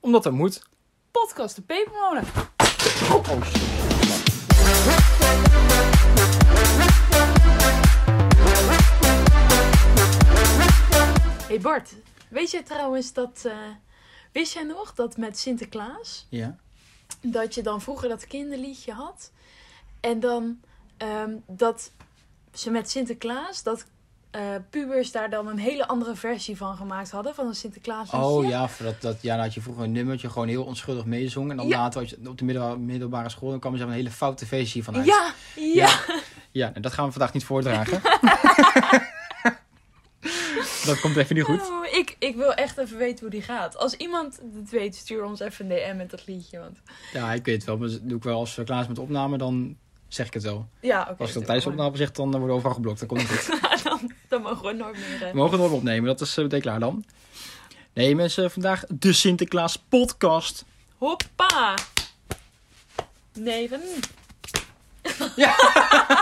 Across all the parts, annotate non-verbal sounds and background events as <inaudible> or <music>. Omdat dat moet. Podcast de Pepermolen. Oh shit. hey Bart, weet je trouwens dat... eh, wist jij nog dat met Sinterklaas... Ja. dat je dan vroeger dat kinderliedje had. En dan ehm, dat ze met Sinterklaas, dat eh, pubers daar dan een hele andere versie van gemaakt hadden. Van een Sinterklaas Oh ja, voor dat, dat, ja, dan had je vroeger een nummertje gewoon heel onschuldig meezong. En dan Ja. later als je- op de middelbare, middelbare school dan kwam ze met een hele foute versie van Ja, uit. ja, Ja. Ja, nou, dat gaan we vandaag niet <laughs> voordragen. dat komt even niet goed. Oh, ik, ik wil echt even weten hoe die gaat. Als iemand het weet, stuur ons even een DM met dat liedje. Want... Ja, ik weet het wel. Maar dat doe ik wel als we klaar zijn met de opname, dan zeg ik het wel. Ja, oké. Als ik dat tijdens de opname zeg, dan worden we overal geblokt. Dan komt het <laughs> goed. dan, dan mogen we nooit meer. We eh, mogen het nog opnemen, dat is eh, meteen klaar dan. Nee mensen, vandaag de Sinterklaas podcast. Hoppa! Neven. Ja.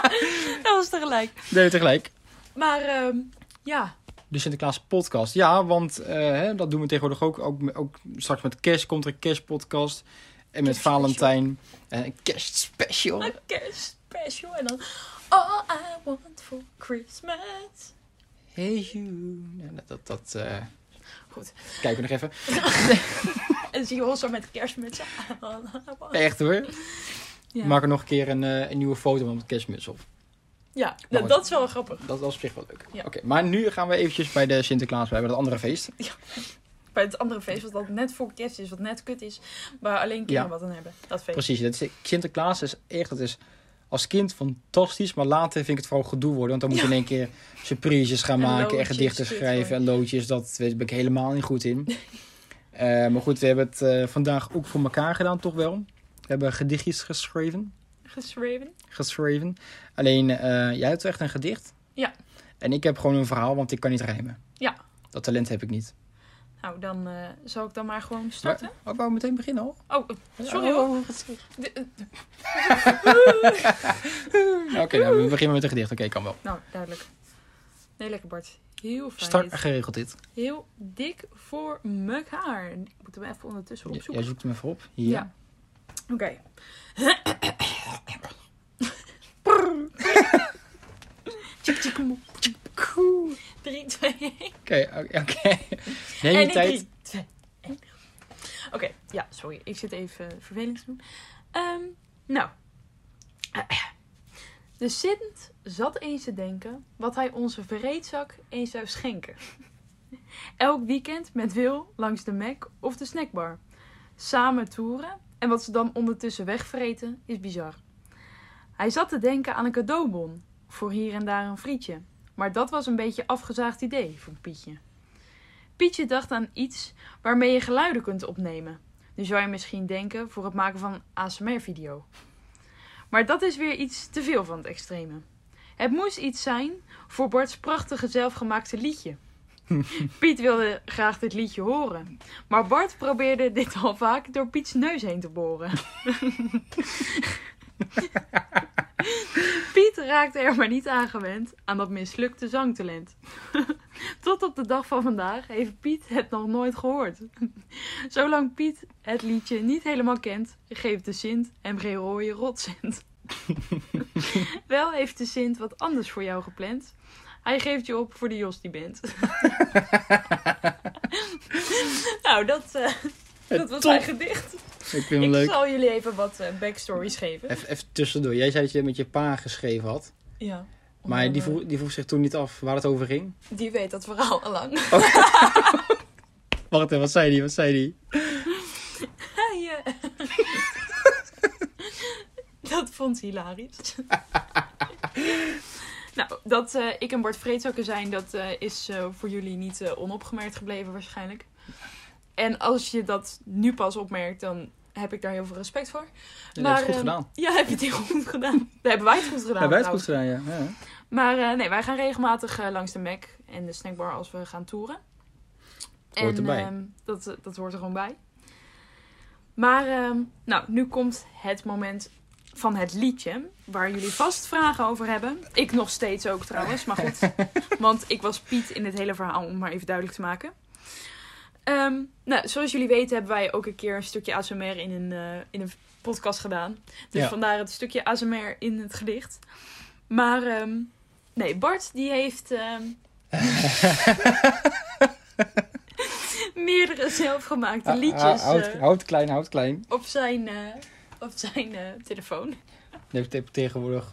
<laughs> dat was tegelijk. Nee, tegelijk. Maar ehm, ja, De Sinterklaas podcast. Ja, want eh, hè, dat doen we tegenwoordig ook. ook. Ook straks met kerst komt er een kerstpodcast. En met Kerstspecial. Valentijn. En een kerstspecial. een kerstspecial. En dan All I Want For Christmas. Hey you. Ja, dat, dat, dat eh, Goed. kijken we nog even. En zie je ons zo met kerstmutsen. <laughs> All I want. Echt hoor. Ja, Maak er nog een keer een, eh, een nieuwe foto van de kerstmuts op. ja nou, dat is wel grappig. Dat was op zich wel leuk. Ja. Oké, maar nu gaan we eventjes bij de Sinterklaas bij, bij dat andere feest. Bij het andere feest, wat dat net voor kerst is, wat net kut is. Waar alleen kinderen Ja. wat aan hebben. Dat feest. Precies, dat is, Sinterklaas is echt, dat is als kind fantastisch, maar later vind ik het vooral gedoe worden. Want dan moet je in één keer surprises gaan En maken en loodjes, gedichten dit, schrijven hoor. en loodjes. Dat weet- ben ik helemaal niet goed <laughs> in. Eh, maar goed, we hebben het eh, vandaag ook voor elkaar gedaan, toch wel. We hebben gedichtjes geschreven. Geschreven. geschreven. Alleen, eh, jij hebt echt een gedicht. Ja. En ik heb gewoon een verhaal, want ik kan niet rijmen. Ja. Dat talent heb ik niet. Nou, dan eh, zal ik dan maar gewoon starten. Oh, wou meteen beginnen al? Oh, eh, sorry hoor. De- eh, Mm. Oké, nou, we beginnen met een gedicht. Oké, kan wel. nou, duidelijk. Nee, lekker Bart. Heel fijn. Start geregeld dit. Heel dik voor mekaar. Ik moet hem even ondertussen J- opzoeken. Jij zoekt hem even op. Hier. Ja. Oké. Tjik, tjik, moe. Cool. Drie, twee, één. Oké, oké. oké. Neem je En in tijd. drie, twee, één. <laughs> Oké, ja, sorry. Ik zit even eh, vervelend te doen. Ehm, nou. De Sint zat eens te denken wat hij onze vreedzak eens zou schenken. Elk weekend met Wil langs de Mac of de snackbar. Samen toeren en wat ze dan ondertussen wegvreten is bizar. Hij zat te denken aan een cadeaubon voor hier en daar een frietje. Maar dat was een beetje afgezaagd idee van Pietje. Pietje dacht aan iets waarmee je geluiden kunt opnemen. Nu zou je misschien denken voor het maken van een ASMR-video. Maar dat is weer iets te veel van het extreme. Het moest iets zijn voor Bart's prachtige zelfgemaakte liedje. Piet wilde graag dit liedje horen. Maar Bart probeerde dit al vaak door Piets neus heen te boren. Piet raakte er maar niet aan gewend aan dat mislukte zangtalent. Tot op de dag van vandaag heeft Piet het nog nooit gehoord. <laughs> Zolang Piet het liedje niet helemaal kent, geeft de Sint hem geen rode rotzint. <laughs> Wel heeft de Sint wat anders voor jou gepland. Hij geeft je op voor de Jos die bent. <laughs> nou, dat, eh, dat was Top. mijn gedicht. Ik vind hem Ik leuk. zal jullie even wat eh, backstories geven. Even, even tussendoor. Jij zei dat je het met je pa geschreven had. Ja. Eh, Maar die vroeg, die vroeg zich toen niet af waar het over ging. Die weet dat verhaal al lang. Wacht even, wat zei die? Wat zei die? Hij, eh, <laughs> dat vond ze hilarisch. <laughs> nou, dat eh, ik een bord vreedzakken zijn, dat eh, is eh, voor jullie niet eh, onopgemerkt gebleven waarschijnlijk. En als je dat nu pas opmerkt, dan heb ik daar heel veel respect voor. Ja, dat is goed ehm, gedaan. Ja, heb je het heel goed gedaan. Daar hebben wij het goed gedaan. Hebben wij het goed trouwens. gedaan, ja. ja. Maar eh, nee, wij gaan regelmatig eh, langs de Mac en de snackbar als we gaan toeren. Hoort erbij. ehm, dat, eh, dat hoort er gewoon bij. Maar ehm, nou, nu komt het moment van het liedje. Waar jullie vast vragen over hebben. Ik nog steeds ook <laughs> trouwens, maar goed. Want ik was Piet in dit hele verhaal, om maar even duidelijk te maken. Ehm, Ehm, nou, zoals jullie weten hebben wij ook een keer een stukje ASMR in een, eh, in een podcast gedaan. Dus Ja. vandaar het stukje ASMR in het gedicht. Maar ehm, nee, Bart die heeft <laughs> ehm, meerdere zelfgemaakte liedjes Ah, houd, eh, houd klein, houd klein. op zijn, eh, op zijn eh, telefoon. <laughs> Die heb ik tegenwoordig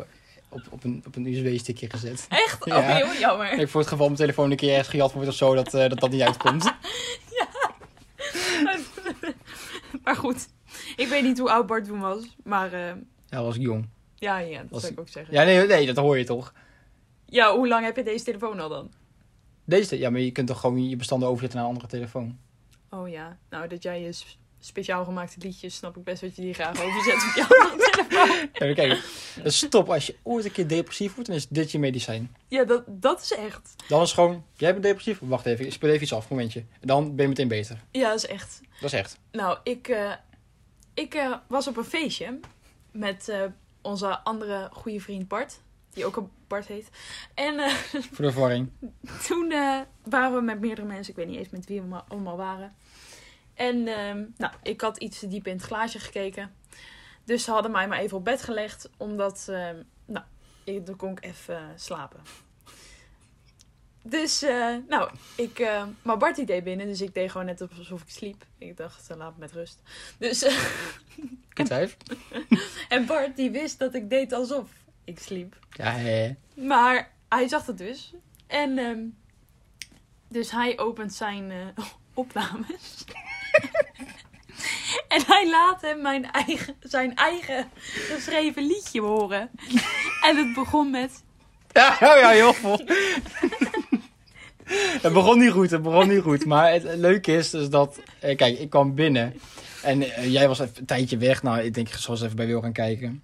op, op een, op een USB-stickje gezet. Echt? Ja. Oh, heel jammer. Ik voor het geval mijn telefoon een keer ergens gejat wordt of zo, dat eh, dat, dat niet uitkomt. maar goed, ik weet niet hoe oud Bart toen was. Maar eh, Ja, was ik jong. ja, ja, dat Was- zou ik ook zeggen. Ja. Ja, nee, nee, dat hoor je toch? hoe lang heb je deze telefoon al dan? Deze, te- ja, maar je kunt toch gewoon je bestanden overzetten naar een andere telefoon. Oh ja, nou dat jij je s- speciaal gemaakte liedjes, snap ik best dat je die graag overzet op je andere telefoon. Ja, kijk, dus stop. Als je ooit een keer depressief wordt, dan is dit je medicijn. <laughs> Ja, dat, dat is echt. Dan is gewoon, jij bent depressief? Wacht even, ik speel even iets af, momentje. En dan ben je meteen beter. Ja, dat is echt. Dat is echt. Nou, ik, eh, ik eh, was op een feestje met eh, onze andere goede vriend Bart, die ook een Bart heet. En eh, Voor de verwarring. toen eh, waren we met meerdere mensen, ik weet niet eens met wie we maar allemaal waren. En ehm, nou, ik had iets te diep in het glaasje gekeken. Dus ze hadden mij maar even op bed gelegd, omdat, ehm, nou, ik, dan kon ik even eh, slapen. Dus, eh, nou, ik, eh, maar Bart die deed binnen, dus ik deed gewoon net alsof ik sliep. Ik dacht, eh, laat me met rust. Dus, <laughs> eh, Kut uit. en Bart die wist dat ik deed alsof ik sliep. Ja, hè. Maar hij zag het dus. En ehm, dus hij opent zijn eh, <laughs> opnames. <laughs> en hij laat hem mijn eigen, zijn eigen geschreven liedje horen. en het begon met... <laughs> Ja, Oh ja, ja, heel vol. <laughs> Het begon niet goed, het begon niet goed. Maar het leuke is dus dat... eh, kijk, ik kwam binnen. En eh, jij was even een tijdje weg. Nou, ik denk, ik zal eens even bij Wil gaan kijken.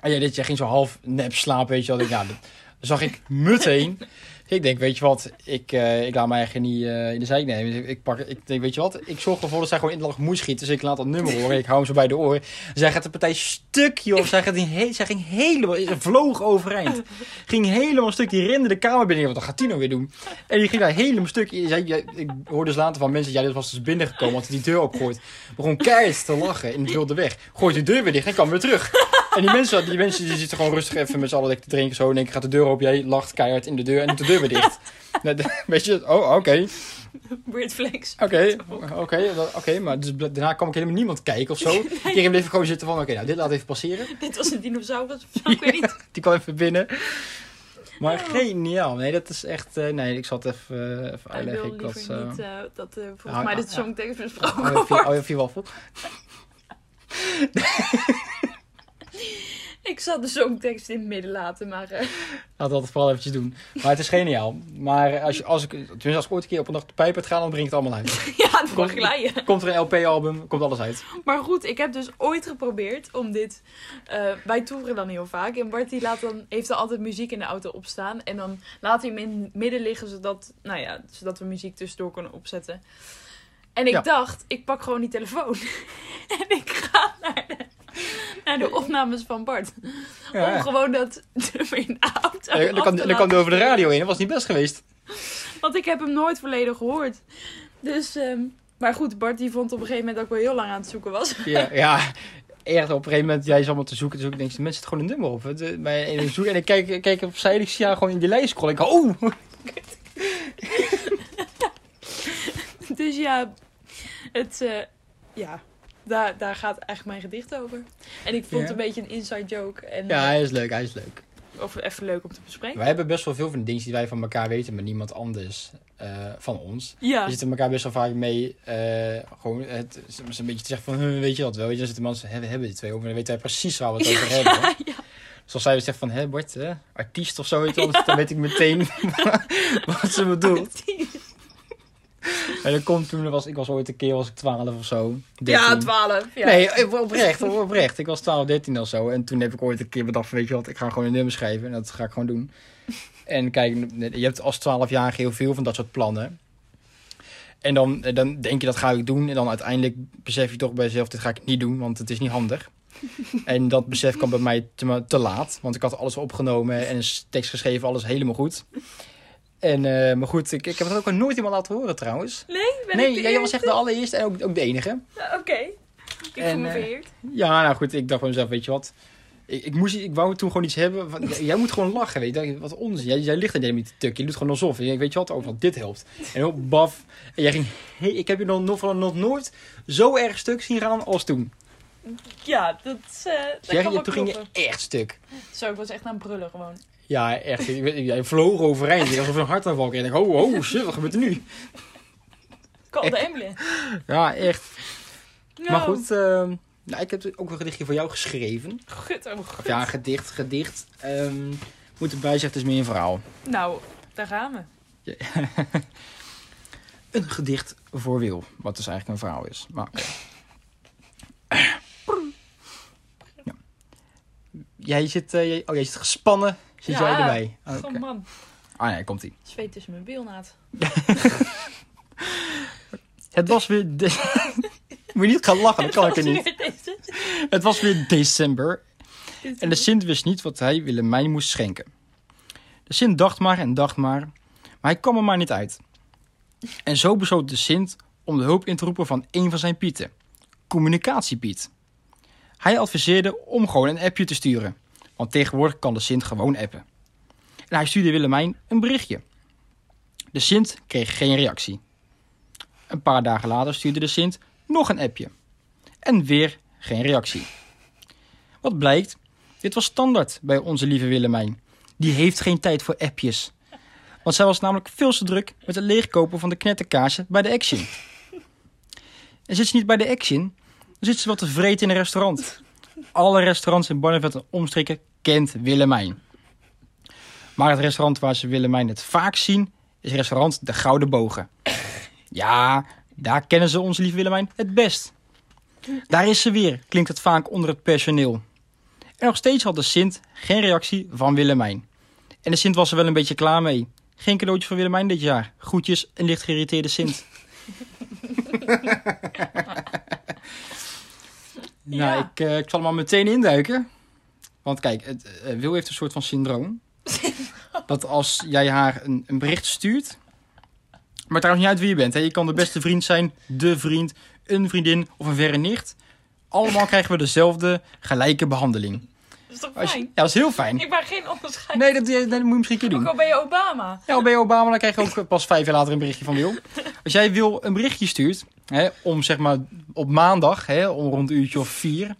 En jij, dit, jij ging zo half nep slapen, weet je wel. Ik, denk, nou, dat zag ik meteen. Ik denk, weet je wat? Ik, eh, ik laat mij eigen niet eh, in de zijk nemen. Dus ik- ik, pak, ik denk, weet je wat? Ik zorg ervoor dat zij gewoon in de lach moes schiet. Dus ik laat dat nummer horen. Ik hou hem zo bij de oren. Zij gaat de partij stuk, joh. Zij, gaat in he- zij ging helemaal... Ze vloog overeind. Ging helemaal stuk. Die rende de kamer binnen. Ik dacht, Wat gaat die nou weer doen? En die ging daar helemaal stuk. in. Zij, jij- ik hoorde dus later van mensen... Ja, dit was dus binnengekomen. Want die deur opgooit. Begon keihard te lachen. En wilde weg. Gooit de deur weer dicht en kwam weer terug. En die mensen, die mensen die zitten gewoon rustig even met z'n allen lekker te drinken. Zo en ik gaat de deur open. Jij lacht keihard in de deur en doet de deur weer dicht. Net- <laughs> Weet je, oh, oké. Weird flex. Oké, oké, dat- oké, maar dus bl- daarna kwam ik helemaal niemand kijken of zo. Iedereen bleef gewoon zitten van, oké, nou, dit laat even passeren. Dit was een dinosaurus of zo, ik weet niet. Die kwam even binnen. Maar Oh. geniaal. Nee, dat is echt, eh, nee, ik zal het even, eh, even Ik wil uitleggen. Ik was, liever eh, niet eh, dat eh, volgens nou, mij ja, dit ja. songtekst hou besproken je vier- wordt. hou je vier waffel? Ik zal de songtekst in het midden laten, maar... eh, <laughs> Laat dat vooral eventjes doen. Maar het is geniaal. Maar als, je, als ik, tenminste, als ik ooit een keer op een dag de pijp uit ga, dan breng ik het allemaal <laughs> uit. ja, dat mag glijden. Komt er een LP-album, komt alles uit. Maar goed, ik heb dus ooit geprobeerd om dit. eh, wij toeren dan heel vaak. En Bart die laat dan, heeft dan altijd muziek in de auto opstaan. En dan laat hij hem in het midden liggen, zodat, nou ja, zodat we muziek tussendoor kunnen opzetten. En ik Ja. dacht, ik pak gewoon die telefoon. <laughs> en ik ga naar de, naar de opnames van Bart. Om Ja. gewoon dat nummer in de auto. Ja, af Dan kan dan kan te laten. die over de radio heen. Dat was niet best geweest. Want ik heb hem nooit volledig gehoord. Dus, ehm, maar goed, Bart die vond op een gegeven moment dat ik wel heel lang aan het zoeken was. <laughs> Ja, ja. Echt, op een gegeven moment, jij is allemaal te zoeken. Dus ik denk, de mensen zetten gewoon een nummer op. eh, De- bij- En ik, zoek, en ik kijk, ik kijk opzij en ik zie haar gewoon in die lijst scrollen. Ik oh! <laughs> Dus ja, het, eh, ja daar, daar gaat eigenlijk mijn gedicht over. En ik vond het Ja. een beetje een inside joke. En, eh, Ja, hij is leuk, hij is leuk. Of even leuk om te bespreken. Wij hebben best wel veel van de dingen die wij van elkaar weten, maar niemand anders eh, van ons. Ja, We zitten elkaar best wel vaak mee, eh, gewoon het, is een beetje te zeggen van, "Huh, weet je dat wel? Weet je, dan zitten mensen, hè, we hebben dit twee over en dan weten wij precies waar we het over hebben. ja, <laughs> ja. Zoals zij zegt van, hè Bart, hè, artiest of zo, weet je wel, dan weet ik meteen <laughs> wat ze bedoelt. En dat komt toen, er was, ik was ooit een keer, was ik 12 of zo. 13. 12. Ja. Nee, eh, oprecht, oprecht. Ik was 12, 13 of zo. En toen heb ik ooit een keer bedacht, van, weet je wat, ik ga gewoon een nummer schrijven. En dat ga ik gewoon doen. En kijk, je hebt als 12-jarige heel veel van dat soort plannen. En dan, eh, dan denk je, dat ga ik doen. En dan uiteindelijk besef je toch bij jezelf, dit ga ik niet doen, want het is niet <laughs> handig. En dat besef kwam bij mij te, te laat, want ik had alles opgenomen en een tekst geschreven, alles helemaal goed. En, eh, maar goed, ik, ik heb het ook nog nooit iemand laten horen trouwens. Nee, ben ik nee, de jij was eerste? echt de allereerste en ook, ook de enige. Oké. Ik En, voel me eh, vereerd. Ja, nou goed, ik dacht bij mezelf, weet je wat. Ik, ik, moest, ik wou toen gewoon iets hebben. van- jij- jij moet gewoon lachen, weet je. Wat onzin. Jij, jij ligt er helemaal niet te tuk. Je doet gewoon alsof. En ik weet je wat, overal dit helpt. En heel baf. En jij ging, hey, ik heb je nog, nog, nog nooit zo erg stuk zien gaan als toen. Ja, dat, is, eh dat Dus jij, kan wel ging- toen ging kloppen. je echt stuk. Zo, ik was echt aan het brullen gewoon. Ja, echt. Ik, weet- jij vloog overeind. Ik alsof je een hartaanval kreeg. Ik dacht, oh, oh, shit, wat gebeurt er nu? Call Echt? de ambulance. Ja, echt. Maar Nou, goed, ehm, nou, ik heb ook een gedichtje voor jou geschreven. Gut, oh, Of gut. ja, gedicht, gedicht. Ehm moet erbij zeggen, het is meer een verhaal. Nou, daar gaan we. Een gedicht voor Wil, wat dus eigenlijk een verhaal is. Maar, oké. ja. Jij zit, eh, jij- oh, jij zit gespannen, zit Ja. jij erbij? Ah, Gewoon oké. man. Ah nee, komt ie. Zweet tussen mijn bilnaad. Het was weer... De... <laughs> Moet je niet gaan lachen, dat kan <laughs> ik er niet. niet. Het was weer december en de Sint wist niet wat hij Willemijn moest schenken. De Sint dacht maar en dacht maar, maar hij kwam er maar niet uit. En zo besloot de Sint om de hulp in te roepen van een van zijn Pieten, Communicatiepiet. Hij adviseerde om gewoon een appje te sturen, want tegenwoordig kan de Sint gewoon appen. En hij stuurde Willemijn een berichtje. De Sint kreeg geen reactie. Een paar dagen later stuurde de Sint nog een appje. En weer geen reactie. Wat blijkt, dit was standaard bij onze lieve Willemijn. Die heeft geen tijd voor appjes. Want zij was namelijk veel te druk met het leegkopen van de knetterkaasje bij de Action. En zit ze niet bij de Action, dan zit ze wat te vreten in een restaurant. Alle restaurants in Barneveld en omstreken kent Willemijn. Maar het restaurant waar ze Willemijn het vaak zien, is restaurant De Gouden Bogen. Ja, daar kennen ze onze lieve Willemijn het best. Daar is ze weer, klinkt het vaak onder het personeel. En nog steeds had de Sint geen reactie van Willemijn. En de Sint was er wel een beetje klaar mee. Geen cadeautje voor Willemijn dit jaar. Groetjes, een licht geïrriteerde Sint. Nou, Ja. ik, eh, ik zal hem al meteen induiken. Want kijk, het, eh, Wil heeft een soort van syndroom. dat als jij haar een, een bericht stuurt... Maar trouwens niet uit wie je bent. Hè? Je kan de beste vriend zijn, de vriend, een vriendin of een verre nicht. Allemaal krijgen we dezelfde gelijke behandeling. Dat is toch Als je- ja, fijn? dat is heel fijn. Ik ben geen onderscheid. Nee, dat, eh, dat moet je misschien een keer Ook doen. al ben je Obama. Ja, bij Obama dan krijg je ook pas vijf jaar later een berichtje van Wil. Als jij Wil een berichtje stuurt, hè, om zeg maar op maandag, hè, om rond een uurtje of vier. En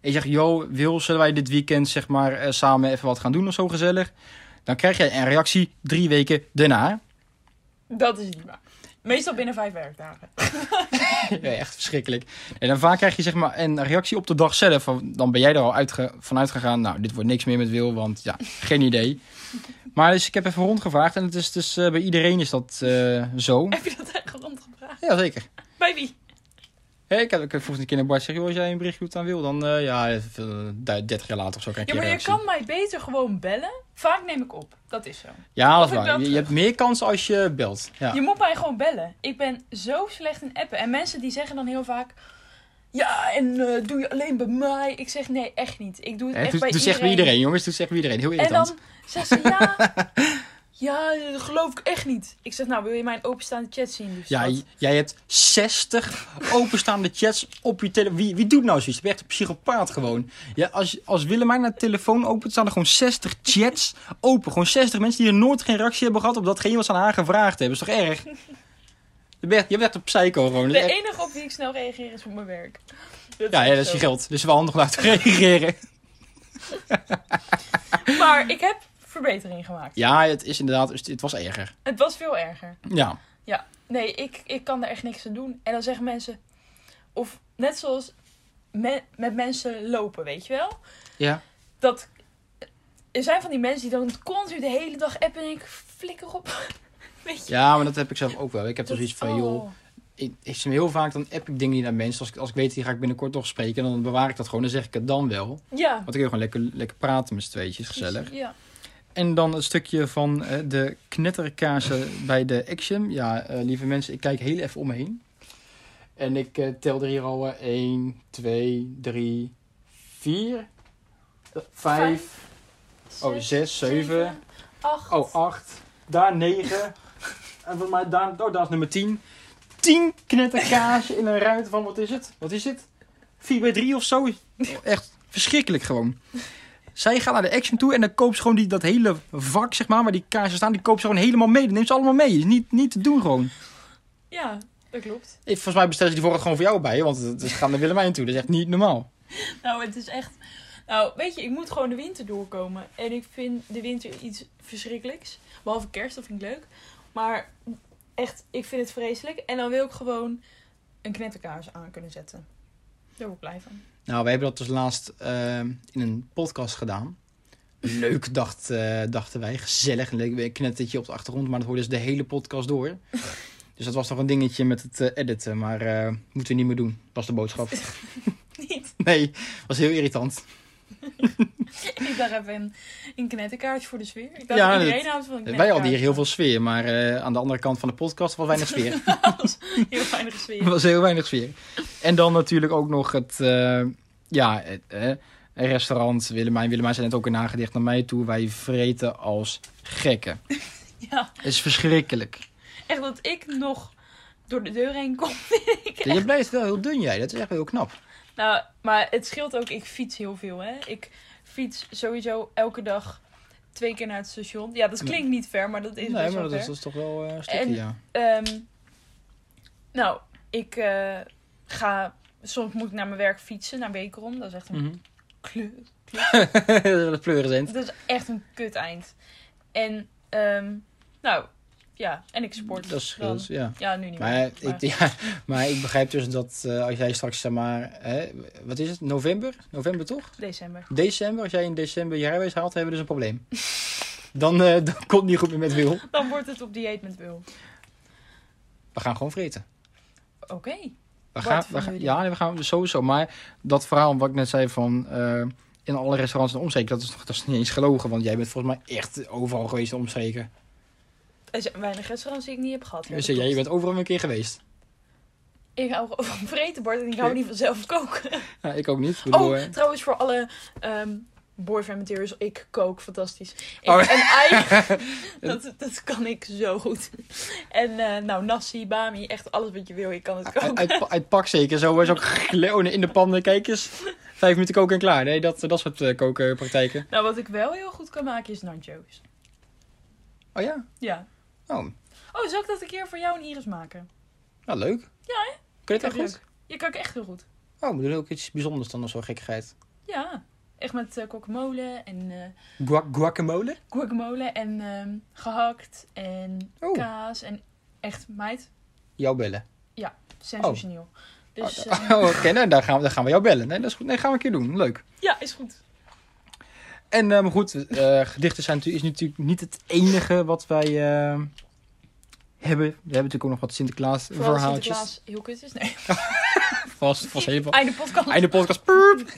je zegt, yo Wil, zullen wij dit weekend zeg maar eh, samen even wat gaan doen of zo gezellig? Dan krijg jij een reactie drie weken daarna. Dat is niet waar. Meestal binnen vijf werkdagen. <laughs> Ja, echt verschrikkelijk. En dan vaak krijg je zeg maar een reactie op de dag zelf. Van, Dan ben jij er al uitge- vanuit gegaan. Nou, dit wordt niks meer met Wil, want ja, <laughs> geen idee. Maar dus ik heb even rondgevraagd en het is dus eh, bij iedereen is dat eh, zo. Heb je dat echt rondgevraagd? Ja, zeker. Bij wie? Hé, ik heb ik heb volgens een keer naar Bart zeggen, joh, als jij een berichtje doet aan Wil, dan eh, ja, even, eh, 30 jaar later of zo krijg je Ja, maar een je reactie. kan mij beter gewoon bellen. Vaak neem ik op. Dat is zo. Ja, dat of is waar. ik bel Je, je terug. hebt meer kans als je belt. Ja. Je moet mij gewoon bellen. Ik ben zo slecht in appen. En mensen die zeggen dan heel vaak... Ja, en eh, doe je alleen bij mij? Ik zeg nee, echt niet. Ik doe het Hè, echt Doe bij doe iedereen. zeg bij dus- iedereen, jongens. Doe zeg bij iedereen. Heel En irritant. dan zegt ze ja... <laughs> Ja, dat geloof ik echt niet. Ik zeg, nou, wil je mijn openstaande chat zien? Dus liefst? Ja, Wat? j- jij hebt 60 openstaande chats op je telefoon. Wie, wie doet nou zoiets? Je bent echt een psychopaat gewoon. Ja, als, als Willemijn haar telefoon opent, staan er gewoon 60 chats open. Gewoon 60 mensen die er nooit geen reactie hebben gehad op datgene wat ze aan haar gevraagd hebben. Is toch erg? Je bent, je bent echt een psycho gewoon. Dat De is echt- enige op wie ik snel reageer is op mijn werk. Ja, ja, dat is je geld. Dus wel handig om daar te <laughs> reageren. Maar ik heb verbetering gemaakt. Ja, het is inderdaad, het het was erger. Het was veel erger. Ja. Ja, nee, ik, ik kan daar echt niks aan doen. En dan zeggen mensen... Of net zoals me- met mensen lopen, weet je wel? Ja. Dat, er zijn van die mensen die dan continu de hele dag appen en ik flikker op. <laughs> Weet je? ja, maar dat heb ik zelf ook wel. Ik heb er zoiets van, oh. joh, ik, ik zie heel vaak dan app ik dingen niet naar mensen. Als ik, als ik weet, die ga ik binnenkort nog spreken. Dan bewaar ik dat gewoon. Dan zeg ik het dan wel. Ja. Want ik wil gewoon lekker, lekker praten met z'n tweetjes. Gezellig. Ja. En dan het stukje van eh, de knetterkaarsen bij de Action. Ja, eh, lieve mensen, ik kijk heel even om me heen. En ik eh, tel er hier al 1, 2, 3, 4, 5, oh 6, 7, Acht. oh 8, daar 9. En volgens mij daar, oh, daar is nummer 10. 10 knetterkaasje in een ruimte van, wat is het? Wat is het? 4 bij 3 of zo. Echt verschrikkelijk gewoon. Zij gaat naar de Action toe en dan koopt ze gewoon die, dat hele vak, zeg maar, waar die kaarsen staan, die koopt ze gewoon helemaal mee. Die neemt ze allemaal mee. Is niet, niet te doen gewoon. Ja, dat klopt. Ik- Volgens mij bestellen ze die vorige gewoon voor jou bij, want ze gaan naar Willemijn toe. Dat is echt niet normaal. Nou, het is echt. Nou, weet je, ik moet gewoon de winter doorkomen. En ik vind de winter iets verschrikkelijks. Behalve kerst, dat vind ik leuk. Maar echt, ik vind het vreselijk. En dan wil ik gewoon een knetterkaars aan kunnen zetten. Daar word ik blij van. <laughs> Nou, wij hebben dat dus laatst ehm, in een podcast gedaan. Leuk, dacht, eh, dachten wij. Gezellig. Een leuk knettertje op de achtergrond, maar dat hoorde dus de hele podcast door. Dus dat was nog een dingetje met het eh, editen, maar eh, moeten we niet meer doen. Was de boodschap. <laughs> Niet. Nee, was heel irritant. Ik dacht even een, een knetterkaars voor de sfeer. Ik dacht Ja, dat iedereen houdt van een Wij hadden hier heel veel sfeer, maar eh, aan de andere kant van de podcast was weinig sfeer. knetterkaars. <laughs> heel weinig Er sfeer. was heel weinig sfeer. En dan natuurlijk ook nog het, eh, ja, het eh, restaurant Willemijn. Willemijn zijn net ook een nagedicht naar mij toe. Wij vreten als gekken. Ja, Het is verschrikkelijk. echt dat ik nog door de deur heen kom. Je blijft wel heel dun jij. Dat is echt wel heel knap. Nou, maar het scheelt ook, ik fiets heel veel, hè. Ik fiets sowieso elke dag twee keer naar het station. Ja, dat klinkt niet ver, maar dat is nee, best maar wel dat is, ver. dat is toch wel eh, een stukje, En- ja. Ehm, nou, ik eh, ga... Soms moet ik naar mijn werk fietsen, naar Wekerom. Dat is echt een Mhm. <laughs> kleur. dat pleuren zijn. Dat is echt een kut eind. En, ehm, nou, ja. En ik sport. Dat scheelt, dan. ja. Ja, nu niet Maar, meer. ik, ja, maar ik begrijp dus dat eh, als jij straks, zeg maar, hè, wat is het, november? November toch? December. December, als jij in december je rijbewijs haalt, hebben we dus een <laughs> probleem. Dan, eh dan komt het niet goed meer met Wil. Dan wordt het op dieet met Wil. We gaan gewoon vreten. Oké. We Wat gaan, voor we gaan- jullie? ja, nee, we gaan sowieso. Maar dat verhaal wat ik net zei van eh, in alle restaurants en omstreken, dat is, nog- dat is niet eens gelogen. Want jij bent volgens mij echt overal geweest in omstreken. Er zijn weinig restaurants die ik niet heb gehad. Ja, Dus dat jij klopt. bent overal een keer geweest. Ik hou gewoon van vretenbord en ik hou niet van zelf koken. Ja, ik ook niet. Ik bedoel, Oh, eh, trouwens voor alle ehm boyfriend materials, ik kook fantastisch. Ik, Oh. <laughs> En eigen, dat, dat kan ik zo goed. En eh, nou, nasi, bami, echt alles wat je wil, ik kan het uit, koken. uit, uit pak zeker. Zo, zo <laughs> kleonen in de pan, eh, kijk eens. Vijf minuten koken en klaar. Nee, dat, dat soort eh, kokenpraktijken. Nou, wat ik wel heel goed kan maken is nachos. Oh ja? Ja. Oh, Oh, zal ik dat een keer voor jou en Iris maken? nou leuk. Ja, hè? Kun je het echt Leuk. goed? Je kan ik echt heel goed. Oh, we doen ook iets bijzonders dan of zo gekkigheid. Ja. Echt met eh guacamole en eh Guac guacamole? guacamole en ehm, gehakt en Oh. kaas en echt, meid, Jou bellen. sensationeel. <laughs> Dus, Oh, eh, Oké, nou, daar, gaan we, daar gaan we jou bellen. Nee, dat is goed. Nee, gaan we een keer doen. Leuk. Ja, is goed. En eh, maar goed, eh, gedichten zijn natuurlijk, is natuurlijk niet het enige wat wij eh, hebben. We hebben natuurlijk ook nog wat Sinterklaas Vooral als verhaaltjes. Sinterklaas heel kut <laughs> is. Nee, Vast, vast helemaal. <laughs> einde podcast. Einde podcast. <laughs> Puup.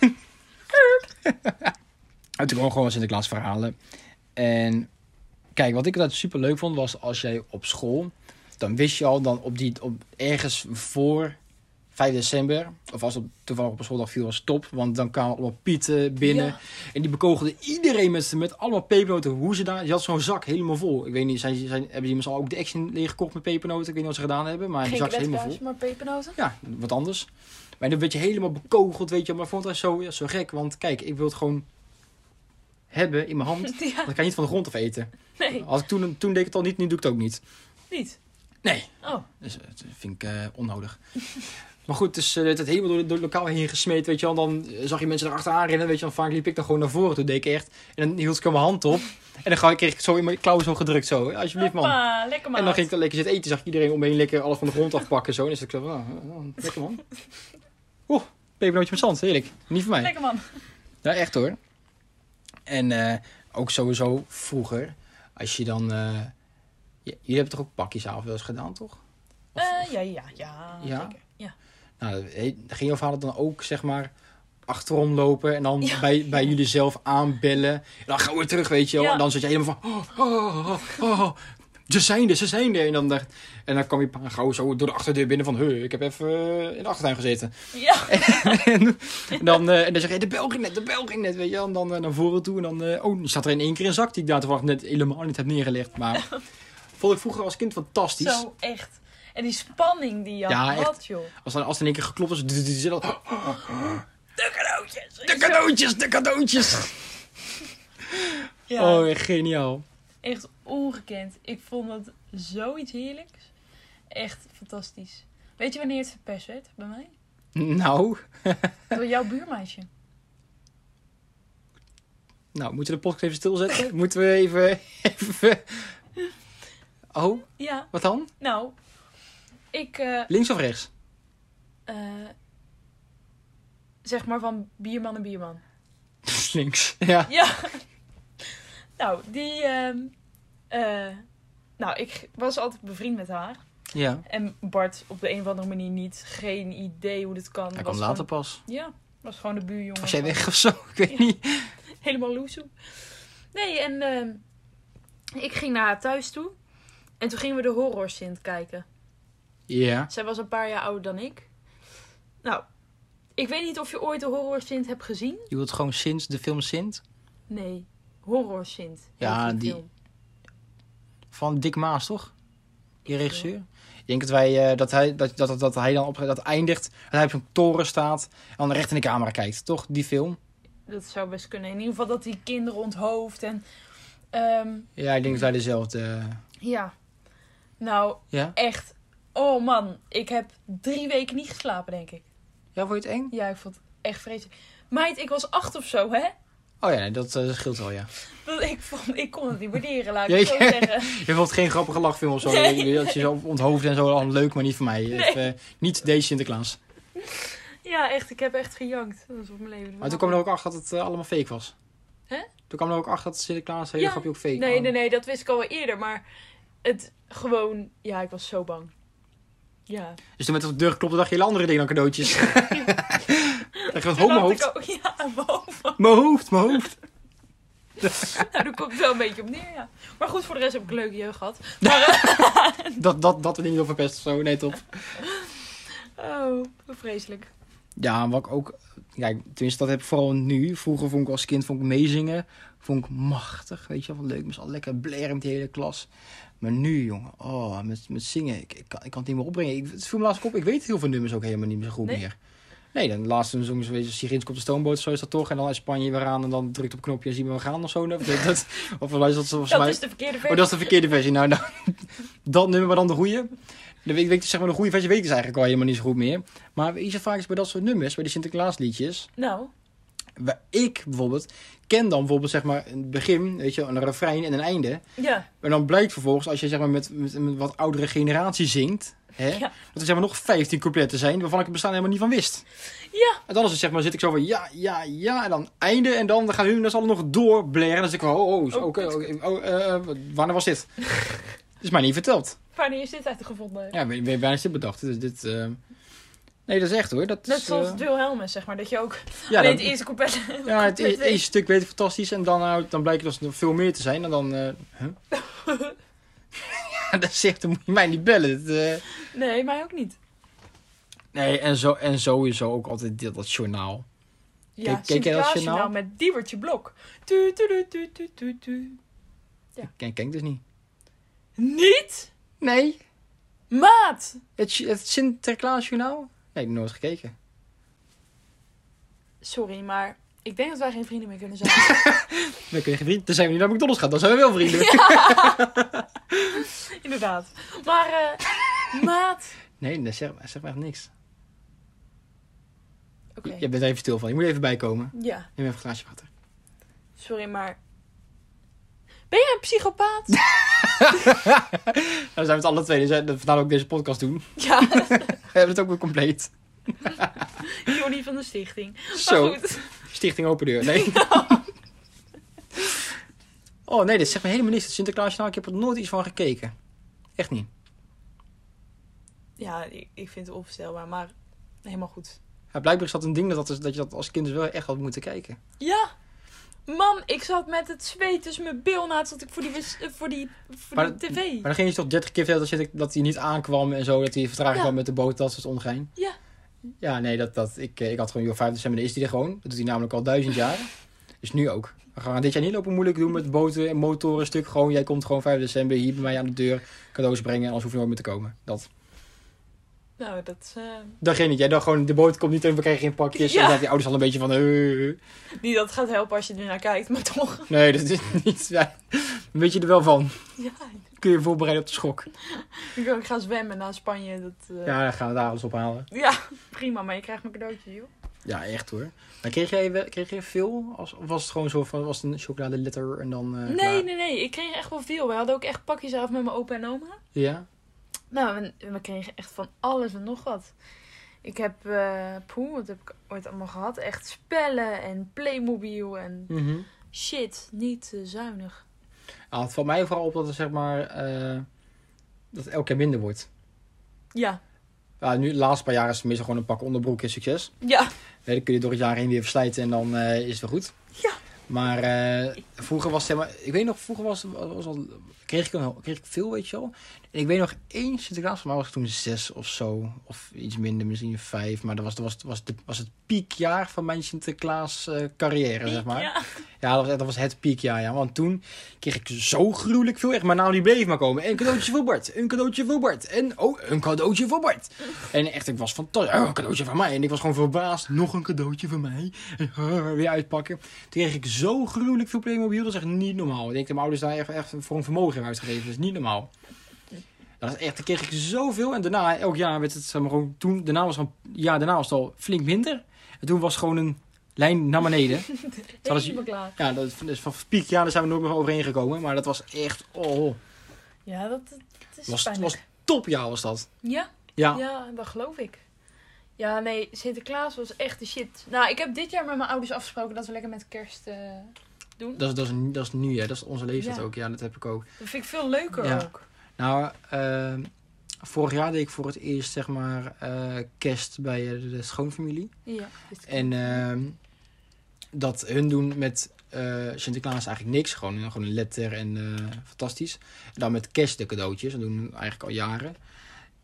natuurlijk ook gewoon Sinterklaas verhalen. En kijk, wat ik altijd super leuk vond was als jij op school, dan wist je al dan op die, op, ergens voor 5 december, of als het toevallig op een schooldag viel, was het top, want dan kwamen allemaal pieten binnen. Ja. En die bekogelden iedereen met, z'n- met allemaal pepernoten. Hoe ze daar... Je had zo'n zak helemaal vol. Ik weet niet, zijn, zijn, hebben die mensen al ook de action leeggekocht met pepernoten? Ik weet niet wat ze gedaan hebben, maar die Geen zak is helemaal vol. kletskaas, maar pepernoten. <laughs> Ja, wat anders. Maar dan werd je helemaal bekogeld, weet je. Maar ik vond dat zo, ja, zo gek. Want kijk, ik wil het gewoon hebben in mijn <laughs> hand. Want Ja, ik kan niet van de grond af eten. nee, Als ik toen, toen deed ik het al niet, nu doe ik het ook niet. niet. Nee, Oh, dus, eh, dat vind ik eh, onnodig. Maar goed, dus eh, werd het helemaal door, door het lokaal heen gesmeed, weet je wel. En Dan eh, zag je mensen erachteraan rennen, weet je wel. En Vaak liep ik dan gewoon naar voren, toen deed ik echt. En dan hield ik mijn hand op. En dan ga- kreeg ik het zo in mijn klauwen zo gedrukt, zo. Alsjeblieft, man. hoppa, lekker man. En dan ging ik dan lekker zitten eten, zag ik iedereen omheen lekker alles van de grond afpakken. Zo. En dan zat ik zo van, nou, nou, lekker man. <laughs> Oeh, pepernootje met zand, heerlijk. Niet voor mij. Lekker man. Ja, echt hoor. En eh, ook sowieso vroeger, als je dan... eh, j- jullie hebben toch ook pakjesavond wel eens gedaan, toch? Of- Eh, ja, ja, ja. Ja? zeker. ja. Nou, dat- he- ging jouw vader dan ook, zeg maar, achterom lopen en dan Ja. bij, bij jullie zelf aanbellen. En dan gaan we terug, weet je wel. Ja. En dan zit je helemaal van... Oh, oh, oh, oh, oh. Ze zijn er, ze zijn er. En dan, dacht- en dan kwam je pa gauw zo door de achterdeur binnen van... Huh, ik heb even eh, in de achtertuin gezeten. Ja. en, dan, eh, en dan zeg je, de bel ging net, de bel ging net, weet je wel. En dan eh, naar voren toe en dan... eh, oh, er staat er in één keer een zak die ik daar toevallig net helemaal niet heb neergelegd. Maar vond ik vroeger als kind fantastisch. Zo, echt. En die spanning die je Ja, had, joh. Als dan, als dan in één keer geklopt is... De De cadeautjes. cadeautjes, de cadeautjes. Ja, Oh, geniaal. Echt ongekend. Ik vond dat zoiets heerlijks. Echt fantastisch. Weet je wanneer het verpest werd bij mij? Nou, Door jouw buurmeisje. <laughs> nou, moeten we de podcast even <laughs> stilzetten? Moeten we even... even... Oh, Ja, wat dan? nou. Ik, eh, Links of rechts? eh, zeg maar van bierman en bierman. Dus Links, ja. Ja. Nou, die. ehm, eh, nou, ik was altijd bevriend met haar. Ja. En Bart op de een of andere manier niet. Geen idee hoe dit kan. Hij Was kwam later pas. gewoon- ja, was gewoon de buurjongen. Was jij van- weg of zo? Ik weet niet. Helemaal loesoe. Nee, en ehm, ik ging naar haar thuis toe. En toen gingen we de Horror Sint kijken. Ja. Zij was een paar jaar ouder dan ik. Nou, ik weet niet of je ooit de Horror Sint hebt gezien. Je wilt gewoon Sint, de film Sint? Nee, Horror Sint. Ja, heet die- film. Van Dick Maas, toch? Die Ik regisseur? Ik denk dat, wij, eh, dat, hij, dat, dat, dat hij dan op dat eindigt. Dat hij op zo'n toren staat. En dan recht in de camera kijkt. Toch? Die film? Dat zou best kunnen. In ieder geval dat die kinderen onthoofd en... ehm, Ja, ik denk dat hij dezelfde... eh, ja. Nou, Ja? echt. Oh man, ik heb drie weken niet geslapen, denk ik. Ja, vond je het eng? Ja, ik vond het echt vreselijk. Meid, ik was acht of zo, hè? Oh ja, nee, dat eh, scheelt wel, ja. Want ik, vond, ik kon het niet waarderen, laat ik het zo Jeetje. zeggen. Je vond geen grappige lachfilm of zo. Nee. Dat je zo onthoofd en zo. oh, Leuk, maar niet voor mij. Het, eh, niet deze Sinterklaas. Ja, echt, ik heb echt gejankt. Dat is op mijn leven. Maar toen kwam er ook achter dat het eh, allemaal fake was. Hè? Toen kwam er ook achter dat Sinterklaas hele Ja. grapje ook fake Nee, was. nee, nee, dat wist ik al wel eerder. Maar het gewoon... Ja, ik was zo bang. Ja. Dus toen met de deur geklopte dacht je hele andere dingen dan <laughs> cadeautjes. <laughs> Dacht je, wat, Toen ho, mijn dacht ik hoofd. ook, <laughs> Ja, mijn hoofd. Mijn hoofd, mijn hoofd. Nou, daar komt het wel een beetje op neer, ja. Maar goed, voor de rest heb ik een leuke jeugd gehad. Maar, eh, Dat, dat, dat we niet over verpest of zo. Nee, top. oh, vreselijk. Ja, wat ik ook... Kijk, tenminste, dat heb ik vooral nu. Vroeger vond ik als kind vond ik meezingen. Vond ik machtig, weet je wel. Leuk, was al lekker blaren met die hele klas. Maar nu, jongen. Oh, met, met zingen. Ik, ik, kan, ik kan het niet meer opbrengen. Ik, het viel me laatst op. Ik weet heel veel nummers ook helemaal niet meer zo goed Nee? meer. Nee, dan laatst toen zongen ze weer Sirinsk op de stoomboot. Zo is dat toch. En dan in Spanje weer aan. En dan drukt op een knopje en zien we we gaan of zo. Dat, dat, of is dat volgens Dat mij... is de verkeerde versie. Oh, dat is de verkeerde versie. Nou, nou <laughs> dat nummer, maar dan de goede. De, weet, weet, zeg maar, de goede versie weet ik dus eigenlijk al helemaal niet zo goed meer. Maar weet je, vaak is bij dat soort nummers, bij de Sinterklaasliedjes... Nou, Waar ik bijvoorbeeld ken dan bijvoorbeeld zeg maar, een begin, weet je, wel, een refrein en een einde. ja. Maar dan blijkt vervolgens, als je zeg maar, met, met een wat oudere generatie zingt... Hè, Ja. dat er zeg maar, nog 15 coupletten zijn waarvan ik het bestaan helemaal niet van wist. Ja. En dan is het, zeg maar, zit ik zo van ja, ja, ja. En dan einde. En dan gaan hun dus allemaal nog doorblaren. En dan zeg ik, oh, oh, oké. Oh, kut, oké, oh, eh, wat- wanneer was <laughs> dit? is mij niet verteld. Wanneer is dit uitgevonden? Ja, we- we- wanneer is dit bedacht? Dit, is- dit, eh, Nee, dat is echt hoor. Dat Net is, zoals eh, Wilhelmus, zeg maar. Dat je ook ja, alleen dat- het eerste <laughs> couplet... ja, het e- eerste stuk weet ik fantastisch. En dan, nou, dan blijkt het nog veel meer te zijn. En dan... eh huh? <laughs> ja, dat zegt, dan moet je mij niet bellen. Dat, eh, Nee, mij ook niet. Nee, en, zo, en sowieso ook altijd dat, dat journaal. Ja, Kijk- kijk jij dat Sinterklaasjournaal journaal? met Diewertje Blok. Tu, tu, tu, tu, tu, tu, tu. Ja. Ik ken, ken ik dus niet. Niet? Nee, Maat! het, ju- het Sinterklaasjournaal? Nee, ik heb nooit gekeken. Sorry, maar ik denk dat wij geen vrienden meer kunnen <laughs> zijn. <laughs> We kunnen geen vrienden. Dan zijn we niet naar McDonald's gaan. Dan zijn we wel vrienden. Inderdaad. Maar, eh, maat! <laughs> Nee, dat zegt, zegt me echt niks. Oké, Je bent er even stil van. Je moet er even bij komen. ja. Neem even een glaasje water. Sorry, maar... Ben jij een <laughs> psychopaat? Nou, dan zijn we het alle twee. Dus eh, dat- vandaar dat we ook deze podcast doen. <laughs> ja, <laughs> We hebben het ook weer compleet. Jordi van de stichting. Maar Zo. Oh, goed. Stichting Open Deur. Nee. <laughs> <laughs> Oh nee, dit zegt me helemaal niks. Het Sinterklaasjournaal. Ik heb er nooit iets van gekeken. Echt niet. Ja, ik, ik vind het onvoorstelbaar, maar helemaal goed. Ja, blijkbaar is dat een ding dat, dat, is, dat je dat als kind dus wel echt had moeten kijken. Ja, Man, ik zat met het zweet tussen mijn bilnaad zat ik voor die, wis- eh, voor die, voor Maar die tv. Maar dan ging je toch 30 keer vertellen dat, je- dat hij niet aankwam en zo. Dat hij vertraging Ja. kwam met de boot, dat soort ongein. Ja. Ja, nee, dat, dat, ik, eh, ik had gewoon, joh, 5 december dan is hij er gewoon. Dat doet hij namelijk al <laughs> duizend jaar. Dus nu ook. We gaan dit jaar niet lopen moeilijk doen met boten en motoren stuk. Gewoon, jij komt gewoon 5 december hier bij mij aan de deur cadeaus brengen. Anders hoef je nooit meer te komen. Dat. Nou, dat is... eh, Dat ging niet. Jij dacht gewoon, de boot komt niet en we krijgen geen pakjes. Ja. En oh, dat die ouders al een beetje van... eh. niet dat het gaat helpen als je er naar kijkt, maar toch. <laughs> nee, dat is <laughs> niet... Ja, weet je er wel van. Ja, Kun je je voorbereiden op de schok. ik wil ook gaan zwemmen naar Spanje. Dat, eh, ja. Ja, dan gaan we daar alles ophalen. prima, maar je krijgt mijn cadeautje, joh. Ja, echt hoor. Maar kreeg jij, wel- kreeg jij veel? Als, of was het gewoon zo van, was het een chocoladeletter en dan... eh, nee, klaar? nee, nee. Ik kreeg echt wel veel. We hadden ook echt pakjes af met mijn opa en oma. Ja? Nou, we, we kregen echt van alles en nog wat. Ik heb, eh poeh, wat heb ik ooit allemaal gehad? Echt spellen en Playmobil en Mhm. shit, niet te zuinig. Ah, het valt mij vooral op dat er zeg maar... eh, dat het elke keer minder wordt. Ja, Ja, nu, de laatste paar jaren is het meestal gewoon een pak onderbroek en succes. ja, Nee, dan kun je door het jaar heen weer verslijten en dan eh, is het weer goed. Ja. Maar eh, vroeger was het, zeg maar, ik weet nog, vroeger was, was al, kreeg, ik een, kreeg ik veel, weet je wel. En ik weet nog één Sinterklaas, van mij was ik toen zes of zo. Of iets minder, misschien vijf. Maar dat was, dat was, was, de, was het piekjaar van mijn Sinterklaas eh, carrière, zeg maar. ja. Ja, dat was, dat was het piekjaar, ja. Want toen kreeg ik zo gruwelijk veel. Echt, mijn naam die bleef maar komen. En een cadeautje voor Bart. Een cadeautje voor Bart. En oh, een cadeautje voor Bart. En echt, ik was fantastisch. Oh, een cadeautje van mij. En ik was gewoon verbaasd. Nog een cadeautje van mij. En <laughs> oh, weer uitpakken. Toen kreeg ik zo gruwelijk veel Playmobil. Dat is echt niet normaal. Ik denk dat mijn ouders daar echt, echt voor een vermogen hebben uitgegeven. Dat is niet normaal. Dat is echt, toen kreeg ik zoveel. En daarna, elk jaar werd het zeg maar, gewoon... Toen, daarna was het, al- ja, daarna was het al flink minder. En toen was het gewoon een lijn naar beneden. Zal ik- Helemaal klaar. Ja, dat is dus van piek, ja, daar zijn we nooit meer overheen gekomen. Maar dat was echt, oh, Ja, dat, dat is was, pijnlijk. was topjaar was dat. Ja, Ja, Ja, dat geloof ik. Ja, nee, Sinterklaas was echt de shit. Nou, ik heb dit jaar met mijn ouders afgesproken dat we lekker met kerst eh, doen. dat, is, dat, is, dat is nu, hè. Dat is onze leeftijd Ja. ook. Ja, dat heb ik ook. Dat vind ik veel leuker Ja. ook. Nou, eh, vorig jaar deed ik voor het eerst, zeg maar, eh, kerst bij eh, de schoonfamilie. Ja. En ehm, dat hun doen met eh, Sinterklaas eigenlijk niks. Gewoon, een- gewoon een letter en eh, fantastisch. En dan met kerst de cadeautjes. Dat doen we eigenlijk al jaren.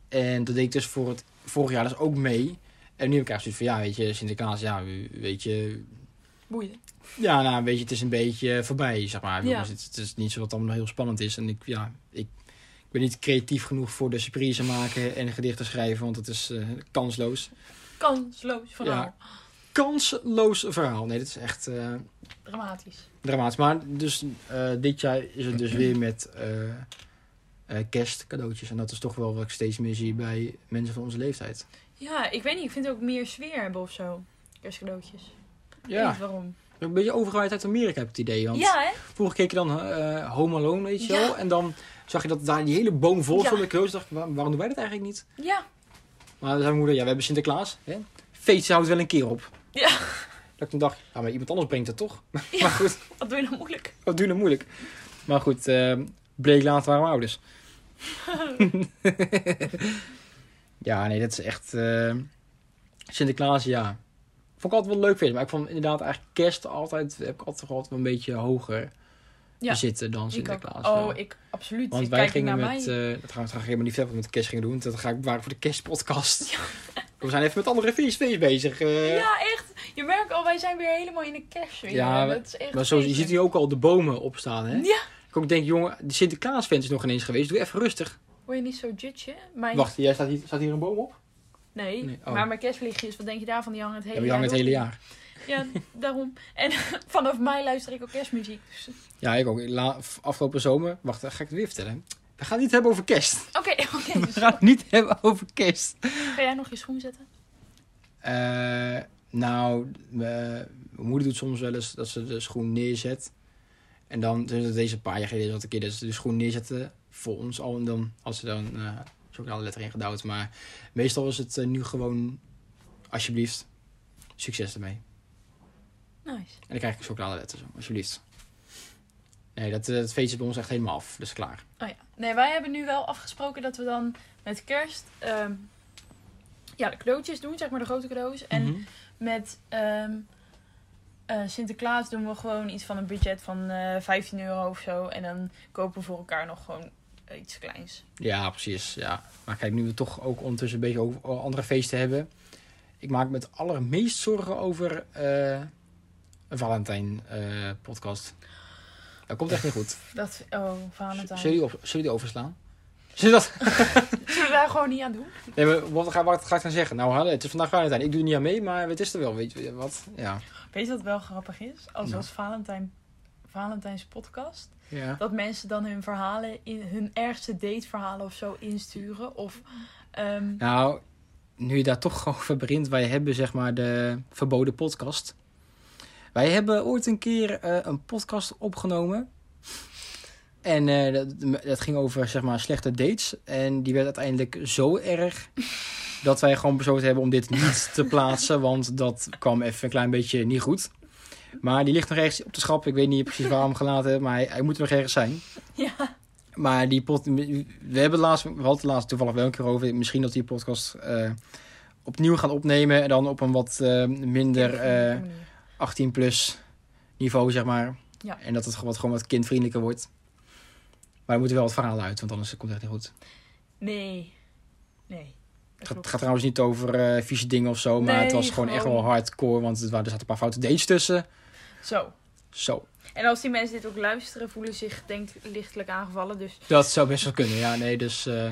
En dat deed ik dus voor het, vorig jaar dus ook mee. En nu heb ik eigenlijk zoiets van, ja, weet je, Sinterklaas, ja, weet je... Boeien. Ja, nou, weet je, het is een beetje voorbij, zeg maar. Ja. Jongens, Het, het is niet zo dat het allemaal heel spannend is. En ik, ja, ik, ik ben niet creatief genoeg voor de surprise maken en gedichten schrijven, want het is eh, kansloos Kansloos verhaal. Ja. kansloos verhaal. Nee, dit is echt eh, Dramatisch. dramatisch. Maar dus, eh, dit jaar is het dus weer met eh, eh, kerstcadeautjes. En dat is toch wel wat ik steeds meer zie bij mensen van onze leeftijd. Ja, ik weet niet. Ik vind het ook meer sfeer hebben of zo. Kerstcadeautjes. Ik weet Ja, niet waarom. een beetje overgewaaid uit Amerika heb ik het idee. Want Ja, hè? vroeger keek je dan eh Home Alone, weet je Ja. wel. En dan zag je dat daar die hele boom vol Ja. stond. Ik dacht, ik, waar- waarom doen wij dat eigenlijk niet? Ja. Maar dan zei mijn moeder, ja, we hebben Sinterklaas. Hè? Feest houdt wel een keer op. Ja. Dat ik toen dacht, ja, maar iemand anders brengt het toch? Ja. <laughs> Maar goed. Wat doe je nou moeilijk? Wat duur en moeilijk. Maar goed, eh, bleek later waren we ouders. <laughs> ja, nee, dat is echt... eh, Sinterklaas, ja. Vond ik altijd wel leuk feest. Maar ik vond inderdaad eigenlijk kerst altijd... Heb ik altijd, altijd wel een beetje hoger Ja, zitten dan Ik ook. Sinterklaas. Oh, ja. ik absoluut. Want ik wij kijk niet gingen naar met... mij. eh, dat gaan we straks helemaal niet verder wat we met kerst gingen doen. Dat ga ik bewaren voor de <laughs> kerstpodcast. We zijn even met andere feest, feest bezig. eh. Ja, echt. Je merkt al, wij zijn weer helemaal in de kerstsfeer. Ja, dat is echt Maar zo, je feestelijk. ziet hier ook al de bomen opstaan, hè? Ja. Ik ook denk, jongen, de Sinterklaas-fans is nog ineens geweest. Doe even rustig. Word je niet zo judge, hè? Mijn Wacht, jij staat, hier, staat hier een boom op? Nee, Nee, oh. maar mijn kerstvliegjes, wat denk je daarvan? Die hangen het Ja, hele we hangen het hele jaar. jaar. door. Ja, daarom. En <laughs> vanaf mei luister ik ook kerstmuziek. Dus- Ja, ik ook. La- afgelopen zomer... Wacht, dan ga ik het weer vertellen. We gaan het niet hebben over kerst. Oké, <laughs> oké. We <laughs> dus gaan het niet hebben over kerst. ga jij nog je schoen zetten? Eh, nou, we- mijn moeder doet soms wel eens dat ze de schoen neerzet. En dan, dus dat deze paar jaar geleden, zat een keer dat ze de schoen neerzette voor ons al. En dan had ze dan eh chocoladeletter in gedouwd. Maar meestal is het eh, nu gewoon, alsjeblieft, succes ermee. Nice. En dan krijg ik een chocoladeletter zo, alsjeblieft. Nee, dat, eh, dat feest is bij ons echt helemaal af. Dus klaar. Oh ja. Nee, wij hebben nu wel afgesproken dat we dan met kerst... ehm, ja, de cadeautjes doen, zeg maar de grote cadeaus. En met ehm, eh, Sinterklaas doen we gewoon iets van een budget van eh 15 euro of zo. En dan kopen we voor elkaar nog gewoon eh, iets kleins. Ja, precies. Ja. Maar kijk, nu we toch ook ondertussen een beetje over over andere feesten hebben. Ik maak me het allermeest zorgen over eh, een Valentijn-podcast. dat komt echt niet goed. Dat, oh, Valentijn. Zullen jullie, op, zullen jullie overslaan? Zullen we dat? Zullen we daar gewoon niet aan doen? Nee, maar wat ga, wat ga ik dan zeggen? Nou, hallo, het is vandaag Valentijn. Ik doe er niet aan mee, maar het is er wel. Weet je wat? Ja. Weet je wat wel grappig is? Als Nou. als Valentijn, Valentijns podcast. ja. Dat mensen dan hun verhalen, in, hun ergste dateverhalen of zo insturen. Of ehm, Nou, nu je daar toch <laughs> over begint, wij hebben zeg maar de verboden podcast. Wij hebben ooit een keer eh, een podcast opgenomen. En eh, dat, dat ging over zeg maar slechte dates. En die werd uiteindelijk zo erg dat wij gewoon besloten hebben om dit niet te plaatsen. Want dat kwam even een klein beetje niet goed. Maar die ligt nog ergens op de schap. Ik weet niet precies waarom gelaten, heb, maar hij, hij moet er nog ergens zijn. ja, Maar die pod... We hebben laatst, we hadden het laatst toevallig wel een keer over. Misschien dat die podcast eh, opnieuw gaan opnemen. En dan op een wat eh, minder eh, 18 plus niveau, zeg maar. Ja. En dat het gewoon wat, gewoon wat kindvriendelijker wordt. Maar er moeten wel wat verhalen uit, want anders komt het echt niet goed. Nee. Nee. Dat Het gaat, klopt. gaat trouwens niet over eh, vieze dingen of zo. Maar het was Nee, gewoon echt wel gewoon- hardcore. Want het waren, er zaten een paar foute dates tussen. Zo. Zo. En als die mensen dit ook luisteren, voelen ze zich denk ik lichtelijk aangevallen. Dus Dat zou best wel kunnen, ja. Nee, dus eh,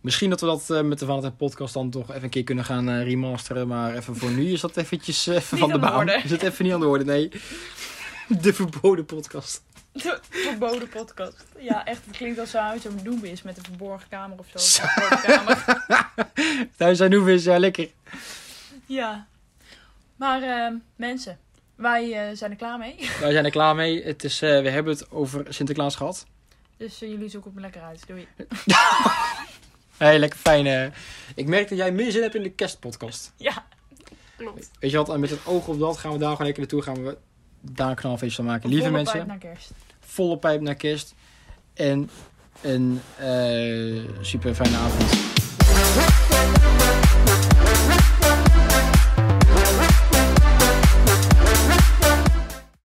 misschien dat we dat eh, met de Van het podcast dan toch even een keer kunnen gaan eh, remasteren. Maar even voor nu is dat eventjes eh, even Niet van de aan de baan. orde. Is het even niet aan de orde, nee. <laughs> De verboden podcast. de verboden podcast. Ja, echt. Het klinkt alsof huis een doen is met een verborgen kamer of zo. Zo. Een verborgen kamer. Thuis zijn hoeven is ja lekker. Ja. Maar eh, mensen, wij eh, zijn er klaar mee. Wij zijn er klaar mee. Het is, eh, we hebben het over Sinterklaas gehad. Dus eh, jullie zoeken het lekker uit. Doei. hey, lekker fijn. eh. Ik merk dat jij meer zin hebt in de kerstpodcast. Ja, klopt. Weet je wat, en met het oog op dat gaan we daar gewoon lekker naartoe. Gaan we daar een knalfeest van maken. Lieve Volle mensen. pijp naar kerst. volle pijp naar kerst. En een eh super fijne avond.